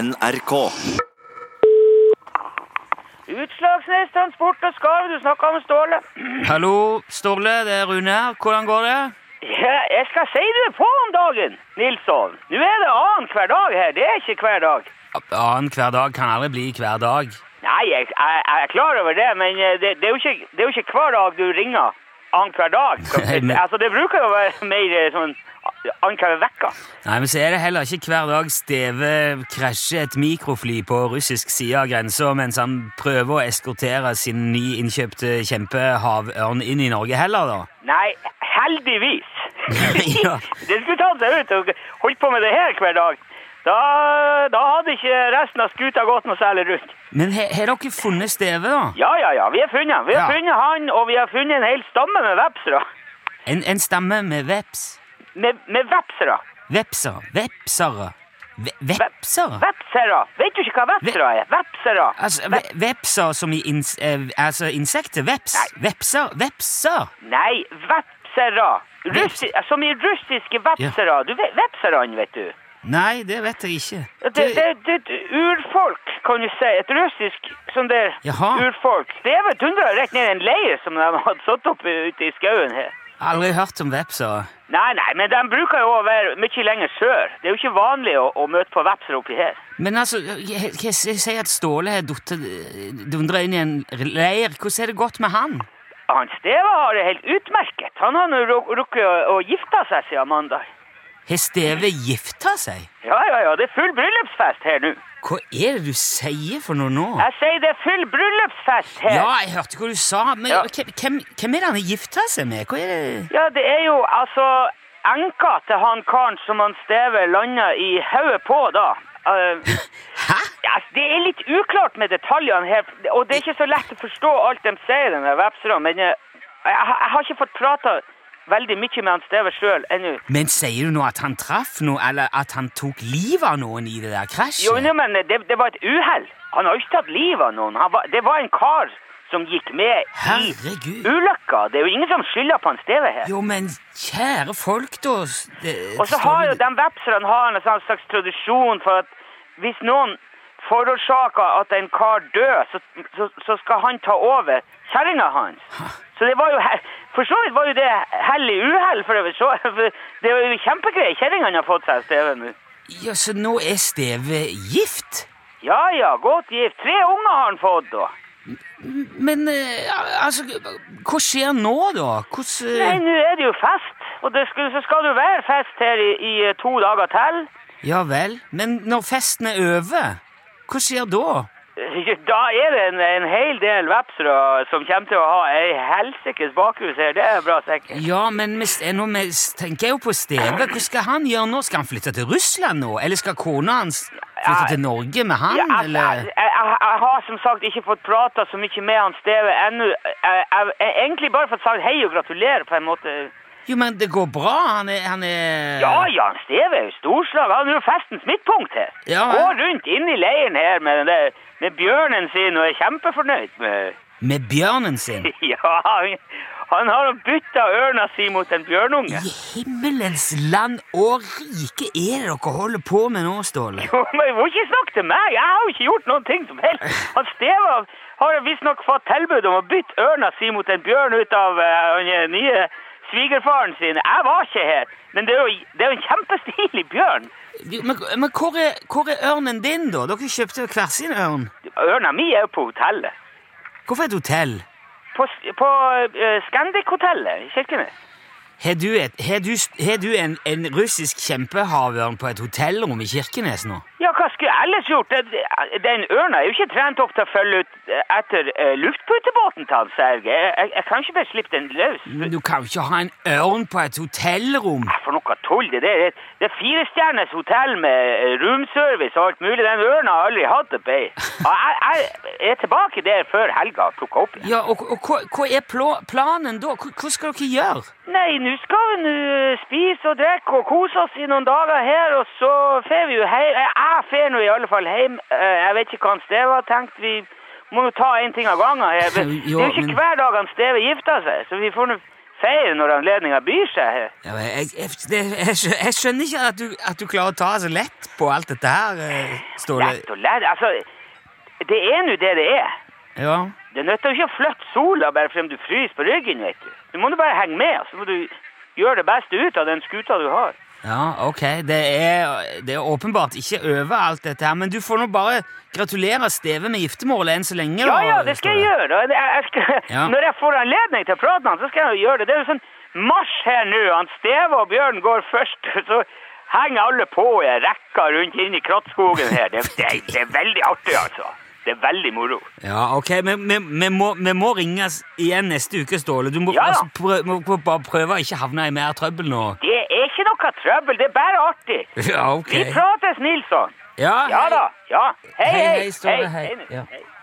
NRK. Utslagsnes Transport og Skarv, du snakka med Ståle. Hallo, Ståle, det er Rune her. Hvordan går det? Ja, jeg skal si du er på om dagen, Nilsson. Nå er det annenhver dag her, det er ikke hver dag. Annen hver dag kan aldri bli hver dag. Nei, jeg, jeg, jeg er klar over det, men eh, det, det, er, jo ikke, det er jo ikke hver dag du ringer annenhver dag. Så, Nei, men- Altså, det bruker jo å være mer eh, sånn annenhver uke. Nei, men så er det heller ikke hver dag Steve krasjer et mikrofly på russisk side av grensa mens han prøver å eskortere sin nyinnkjøpte kjempehavørn inn i Norge heller, da. Nei, heldigvis. Ja. Det skulle tatt seg ut og holdt på med det her hver dag. Da, da hadde ikke resten av skuta gått noe særlig rundt. Men he- har dere funnet Steve, da? Ja, ja, ja. Vi har funnet han. Vi har Ja. funnet han, og vi har funnet en hel stamme med vepsere. En, en stamme med veps? Med, med vepsere. Vepsere? Vepsere? Ve- Vep- Vepsere? Vepsere. Vet du ikke hva vepsere er? Vepsere. Altså, ve vepser som i ins eh, altså insekter? Veps? Vepser? Vepser? Nei, vepsere. Russi, som i russiske vepsere. Du vet, vepserne, vet du. Nei, det vet jeg ikke. Det, det, det er et urfolk, kan du si. Et russisk sånn der Jaha. urfolk. Steven dundra rett ned i en leir som de hadde satt opp eh, ute i skauen her. Aldri hørt om vepser. Nei, nei, men de bruker jo å være mye lenger sør. Det er jo ikke vanlig å, å møte på vepser oppi her. Men altså, jeg, jeg, jeg sier at Ståle har dundra inn i en leir. Hvordan er det gått med han? Han Steve har det helt utmerket. Han har nå ru- rukket å, å gifte seg siden mandag. Har Steve gifta seg? Ja, ja, ja, det er full bryllupsfest her nå. Hva er det du sier for noe nå? Jeg sier det er full bryllupsfest her. Ja, jeg hørte hva du sa, men Ja. hvem, hvem- hvem er det han har gifta seg med? Hva er det Ja, det er jo altså enka til han karen som han Steve landa i hodet på da. Eh, Hæ? ja, altså, det er litt uklart med detaljene her, og det er ikke så lett å forstå alt de sier, de der vepserne, men eh, jeg, har- jeg har ikke fått prata veldig mye med han Steve sjøl ennå. Men sier du nå at han traff noe, eller at han tok livet av noen i det der krasjet? Jo, nei, men det, det var et uhell. Han har jo ikke tatt livet av noen. Han var, det var en kar som gikk med i Herregud. ulykka. Det er jo ingen som skylder på han Steve her. Jo, men kjære folk, da. s- det- Og så har jo Ståle- de vepserne har en sånn slags tradisjon for at hvis noen forårsaker at en kar dør, så, så, så skal han ta over kjerringa hans. Så det var jo he- For så vidt var jo det hell i uhell, for det var, så, for det var jo kjempegreie kjerringa han har fått seg, Steve, nå. Ja, så nå er Steve gift? Ja ja, godt gift. Tre unger har han fått, da. Men eh, altså, hva skjer nå, da? Hvordan Nei, eh, nå er det jo fest, og det skal, så skal det jo være fest her i, i eh, to dager til. Ja vel. Men når festen er over, hva skjer da? Eh, Da er det en, en hel del vepsere som kommer til å ha ei helsikes bakhus her, det er bra sikkert. Ja, men vi, s- eh, nå vi s- tenker jeg jo på Steve. Hva skal han gjøre nå? Skal han flytte til Russland nå? Eller skal kona hans Ja, flytte til Norge med han, Ja, jeg, jeg, eller? jeg, jeg har som sagt ikke fått prata så mye med han Steve ennå. Jeg jeg- jeg har egentlig bare fått sagt hei og gratulerer, på en måte. Jo, men det går bra. Han er, han er Ja, Jan Steve er jo storslag. Han er jo festens midtpunkt her. Ja, ja. Gå rundt inn i leiren her med, den der, med bjørnen sin og er kjempefornøyd med Med bjørnen sin. Ja, han, han har bytta ørna si mot en bjørnunge. I himmelens land og rike er det dere holder på med nå, Ståle? Jo, Men du må ikke snakke til meg! Jeg har jo ikke gjort noen ting som helst! Han Steva har visstnok fått tilbud om å bytte ørna si mot en bjørn ut av eh, den nye svigerfaren sin. Jeg var ikke her, men det er jo, det er jo en kjempestilig bjørn. Jo, Men, men hvor, er, hvor er ørnen din, da? Dere kjøpte hver sin ørn. Ørna mi er jo på hotellet. Hvorfor et hotell? På, s- på eh, Scandic-hotellet i Kirkenes. Har du, et, har du, har du en, en russisk kjempehavørn på et hotellrom i Kirkenes nå? Ja, hva skulle jeg ellers gjort? Det- Den ørna er jo ikke trent opp til å følge ut etter eh, luftputebåten til han, Serge. Jeg, jeg, jeg kan ikke bare slippe den løs. Men Du kan jo ikke ha en ørn på et hotellrom! Nei, For noe tull det der. er. Det er firestjerners hotell med eh, roomservice og alt mulig. Den ørna har aldri hatt det bedre. Og Jeg, jeg er tilbake der før helga og plukker opp igjen. Ja, og, og hva, hva er plå, planen da? Hva, hva skal dere gjøre? Nei, nå skal vi nå eh, spise og drikke og kose oss i noen dager her, og så fer vi jo hjem. Eh, Jeg fer nå i alle fall hjem. Eh, Jeg vet ikke hva han Steve har tenkt. Vi må jo ta en ting av gangen her. Det er jo Jo, ikke men- hver dag han Steve gifter seg, så vi får nå sier når anledninga byr seg. Ja, men jeg, jeg, det, jeg, skjø- jeg skjønner ikke at du, at du klarer å ta så lett på alt dette her, eh, Ståle. Lett og lett. Altså, det er nå det det er. Ja. Det nytter jo ikke å flytte sola bare fordi om du fryser på ryggen, vet du. Du må nå bare henge med, og så må du gjøre det beste ut av den skuta du har. ja, ok. Det er, det er åpenbart ikke over alt dette her, men du får nå bare gratulere Steve med giftermålet enn så lenge. Ja, da, ja, det skal jeg Ståle. gjøre. og Jeg, jeg skal, Ja. Når jeg får anledning til å prate med han, så skal jeg jo gjøre det. Det er jo sånn marsj her nå. Han Steve og Bjørn går først, så henger alle på i en rekke rundt inn i krattskogen her. Det, det, det er veldig artig, altså. Det er veldig moro. Ja, ok, men vi, vi, må, vi må ringes igjen neste uke, Ståle. Du må, Ja, ja. altså, prø- må må bare prøve å ikke havne i mer trøbbel nå. Det er ikke noe trøbbel, det er bare artig. Ja, ok. Vi prates, Nilsson. Ja, Ja da. Ja. Hei, Hei, hei. hei, Ståle, hei. nå. Ja. hei.